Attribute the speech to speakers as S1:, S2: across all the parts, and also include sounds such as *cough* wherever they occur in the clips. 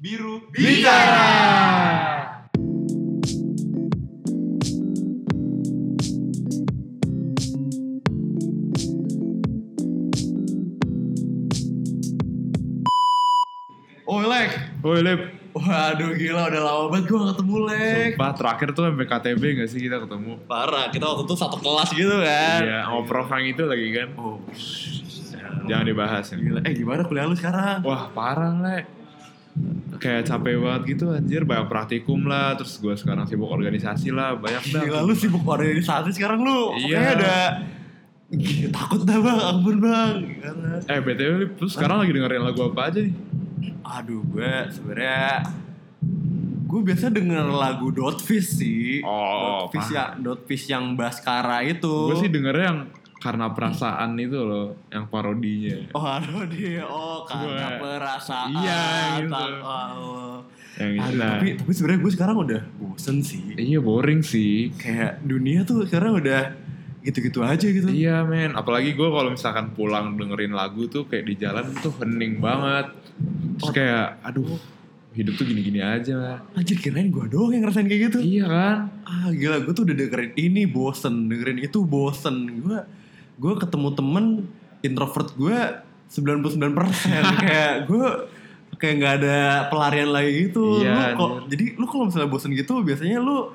S1: biru
S2: Bicara.
S1: Oh Lek,
S2: Woi Lip,
S1: waduh gila udah lama banget gue ketemu Lek.
S2: sumpah terakhir tuh MPKTB gak sih kita ketemu?
S1: Parah, kita waktu itu satu kelas gitu kan.
S2: Iya, sama Prof yang itu lagi kan.
S1: Oh,
S2: Jangan dibahas ini.
S1: gila. Eh gimana kuliah lu sekarang?
S2: Wah parah le. Kayak capek banget gitu anjir, banyak praktikum lah, terus gue sekarang sibuk organisasi lah, banyak dah.
S1: Gila lu sibuk organisasi sekarang lu.
S2: Iya.
S1: Kayaknya ada Gila, takut dah bang, ampun bang. Gimana?
S2: Eh BTW Lip, terus sekarang lagi dengerin lagu apa aja nih?
S1: Aduh gue sebenarnya gue biasa denger lagu Dotfish sih.
S2: Oh,
S1: Dotfish ya, Dotfish yang Baskara itu.
S2: Gue sih dengernya yang karena perasaan itu loh, yang parodinya.
S1: Oh, aduh dia. Oh, karena
S2: Gue-
S1: perasaan.
S2: Iya, gitu.
S1: tak- oh.
S2: Yang itu.
S1: Aduh, tapi tapi sebenarnya gue sekarang udah bosen sih.
S2: Iya boring sih.
S1: Kayak dunia tuh sekarang udah gitu-gitu aja gitu.
S2: Iya men, apalagi gue kalau misalkan pulang dengerin lagu tuh kayak di jalan tuh hening banget. Terus kayak, aduh hidup tuh gini-gini aja.
S1: Anjir kirain gue doang yang ngerasain kayak gitu.
S2: Iya kan?
S1: Ah, gila gue tuh udah dengerin ini bosen, dengerin itu bosen. Gue gue ketemu temen introvert gue 99%
S2: *laughs*
S1: kayak gue kayak nggak ada pelarian lagi gitu. Lu
S2: Iya,
S1: kok- jadi lu kalau misalnya bosen gitu biasanya lu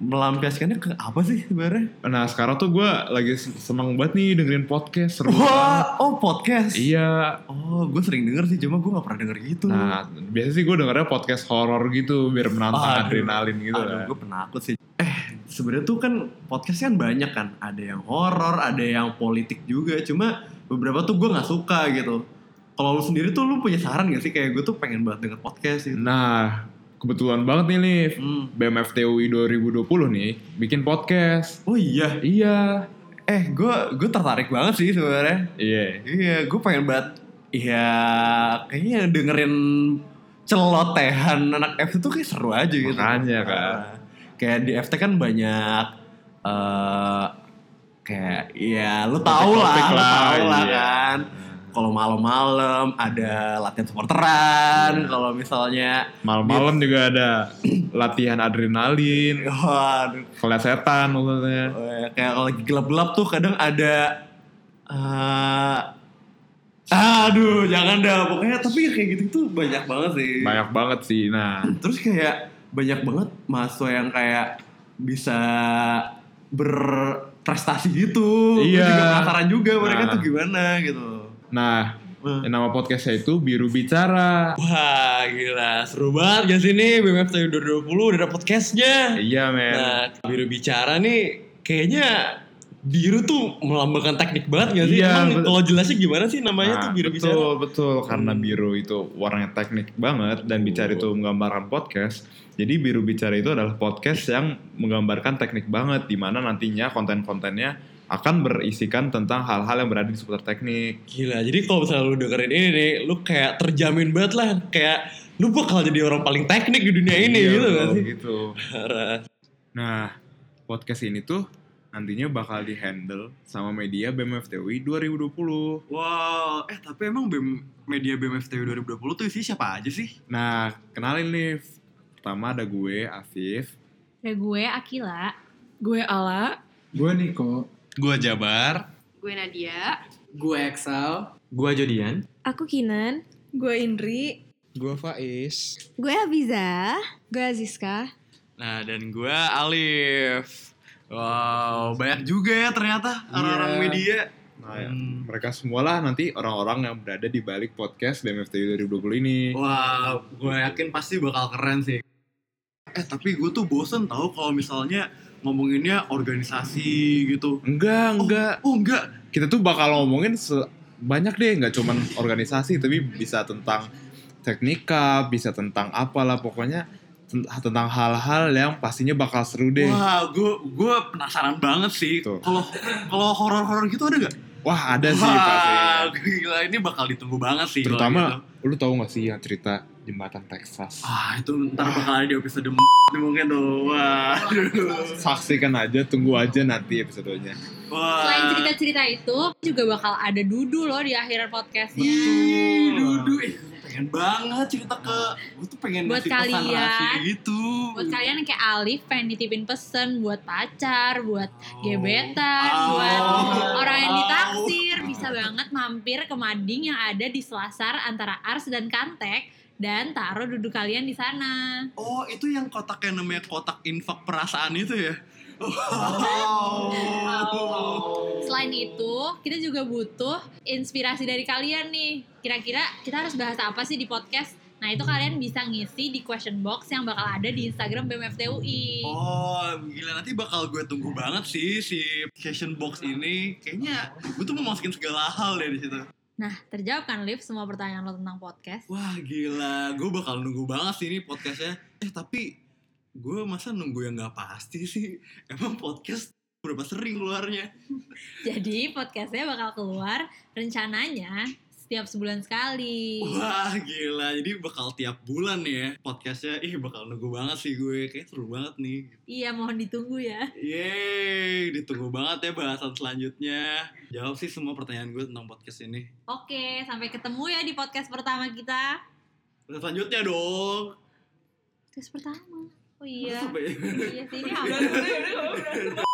S1: melampiaskannya ke apa sih sebenarnya?
S2: Nah sekarang tuh gue lagi seneng banget nih dengerin podcast seru banget.
S1: Wah, oh podcast.
S2: Iya.
S1: Oh, gue sering denger sih, cuma gue gak pernah denger gitu.
S2: Nah biasanya sih gue dengernya podcast horor gitu biar menantang
S1: Aduh.
S2: adrenalin gitu
S1: Aduh,
S2: kan.
S1: gue penakut sih. Eh, sebenarnya tuh kan podcast kan banyak kan. Ada yang horor, ada yang politik juga. Cuma beberapa tuh gue nggak suka gitu. Kalau lu sendiri tuh lu punya saran gak sih? Kayak gue tuh pengen banget denger podcast gitu.
S2: Nah kebetulan banget nih Liv.
S1: Hmm.
S2: BMFTUI 2020 nih bikin podcast.
S1: Oh iya,
S2: Iya.
S1: eh gue gue tertarik banget sih sebenarnya.
S2: Iya.
S1: Iya, gue pengen banget. Iya, kayaknya dengerin celotehan anak FT tuh kayak seru aja gitu.
S2: Makanya, kan.
S1: Nah, Kayak di FT kan banyak eh kayak ya lu tau lah,
S2: Topik-topik
S1: lu
S2: lah,
S1: tau lah
S2: iya.
S1: kan. Kalau malam-malam ada latihan supporteran,
S2: Iya.
S1: kalau misalnya
S2: Malam-malam juga ada latihan adrenalin,
S1: waduh,
S2: kelas setan maksudnya.
S1: eh, kayak kalau lagi gelap-gelap tuh kadang ada eh ah, aduh jangan dah pokoknya tapi kayak gitu tuh banyak banget sih.
S2: Banyak banget sih. Nah,
S1: terus kayak banyak banget mahasiswa yang kayak bisa berprestasi gitu. Gue
S2: Iya.
S1: juga penasaran juga mereka
S2: Nah.
S1: tuh gimana gitu.
S2: nah
S1: Hmm.
S2: nama podcastnya itu Biru Bicara.
S1: Wah gila seru banget gak sih nih BMF 2020 udah ada podcastnya.
S2: Iya
S3: Nah,
S2: men.
S1: biru bicara nih kayaknya biru tuh melambangkan teknik banget
S2: gak sih? Iya, Emang bet- kalau
S1: jelasnya gimana sih
S2: Nah, betul, betul karena biru itu warnanya teknik banget dan bicara itu menggambarkan podcast. Jadi biru bicara itu adalah podcast yang menggambarkan teknik banget di mana nantinya konten-kontennya akan berisikan tentang hal-hal yang berada di seputar teknik.
S3: Gila, jadi kalau misalnya lu dengerin ini nih, lu kayak terjamin banget lah, kayak lu bakal jadi orang paling teknik di dunia ini
S2: Iya,
S3: gitu
S2: betul,
S3: kan sih.
S2: Gitu. Nah, podcast ini tuh nantinya bakal dihandle sama media BMFTUI 2020.
S1: Wow, eh tapi emang BEM, media BMF 2020 tuh isi siapa aja sih?
S2: Nah, kenalin nih. Pertama ada gue, Afif.
S4: Ada gue Akila,
S5: Gue Ala.
S6: Gue Niko.
S3: Gua Jabar.
S4: gue Nadia,
S6: Gue Excel.
S3: Gua Jodian.
S7: Aku Kinan.
S5: Gue Indri.
S6: Gue Faiz.
S7: Gue Abiza.
S5: Gue Aziska.
S3: Nah, dan gua Alif.
S1: Wow, banyak juga ya ternyata orang-orang
S6: Iya.
S1: media.
S2: Nah, ya, mereka semualah nanti orang-orang yang berada di balik podcast BMFTUI 2020 ini.
S1: Wah, gue yakin pasti bakal keren sih. Eh, tapi gue tuh bosen tau kalau misalnya ngomonginnya organisasi gitu.
S2: Enggak, enggak.
S1: Oh enggak,
S2: Kita tuh bakal ngomongin se- banyak deh, nggak cuman organisasi, tapi bisa tentang teknika, bisa tentang apalah pokoknya ten- tentang hal-hal yang pastinya bakal seru deh.
S1: wah gue gue penasaran banget sih.
S2: Tuh.
S1: Kalau kalau horor-horor gitu ada gak?
S2: Wah, ada sih pasti.
S1: Wah, gila ini bakal ditunggu banget sih. kalau
S2: Terutama
S1: gitu.
S2: lu tahu nggak sih yang cerita jembatan Texas?
S1: Ah, itu ntar bakal ada di episode m- mungkin tuh. Wah. aduh.
S2: Saksikan aja, tunggu aja nanti episodenya.
S1: Wah.
S4: Selain cerita-cerita itu juga bakal ada dudu loh di akhiran podcastnya.
S1: Betul. Dudu. Eh, pengen pengen banget cerita ke gue tuh pengen
S4: Buat
S1: ngasih pesan
S4: kalian.
S1: rahasia gitu
S4: buat kalian yang kayak Alif pengen nitipin pesen buat pacar, buat gebetan,
S1: Oh.
S4: buat orang yang
S1: Oh.
S4: ditaksir, bisa banget mampir ke mading yang ada di Selasar antara Ars dan Kantek dan taruh duduk kalian di sana.
S1: oh itu yang kotak yang namanya kotak infak perasaan itu ya wow
S4: Selain itu, kita juga butuh inspirasi dari kalian nih. Kira-kira kita harus bahas apa sih di podcast? Nah, itu kalian bisa ngisi di question box yang bakal ada di Instagram BMFTUI.
S1: Oh, gila nanti bakal gue tunggu banget sih si question box ini. Kayaknya gue tuh mau masukin segala hal deh di situ.
S4: Nah, terjawab kan Liv semua pertanyaan lo tentang podcast? *laughs*
S1: Wah, gila. Gue bakal nunggu banget sih ini podcastnya. Eh, tapi gue masa nunggu yang nggak pasti sih. Emang podcast berapa sering keluarnya?
S4: Jadi podcastnya bakal keluar rencananya setiap sebulan sekali.
S1: Wah, gila. Jadi bakal tiap bulan nih ya podcastnya. Ih, bakal nunggu banget sih gue. Kayaknya seru banget nih.
S4: Iya mohon ditunggu ya.
S1: Yeay, ditunggu banget ya bahasan selanjutnya. Jawab sih semua pertanyaan gue tentang podcast ini.
S4: Oke sampai ketemu ya di podcast pertama kita.
S1: Bahasan selanjutnya dong.
S4: Podcast pertama. Oh iya.
S1: Sampai-
S4: iya sih ini apa?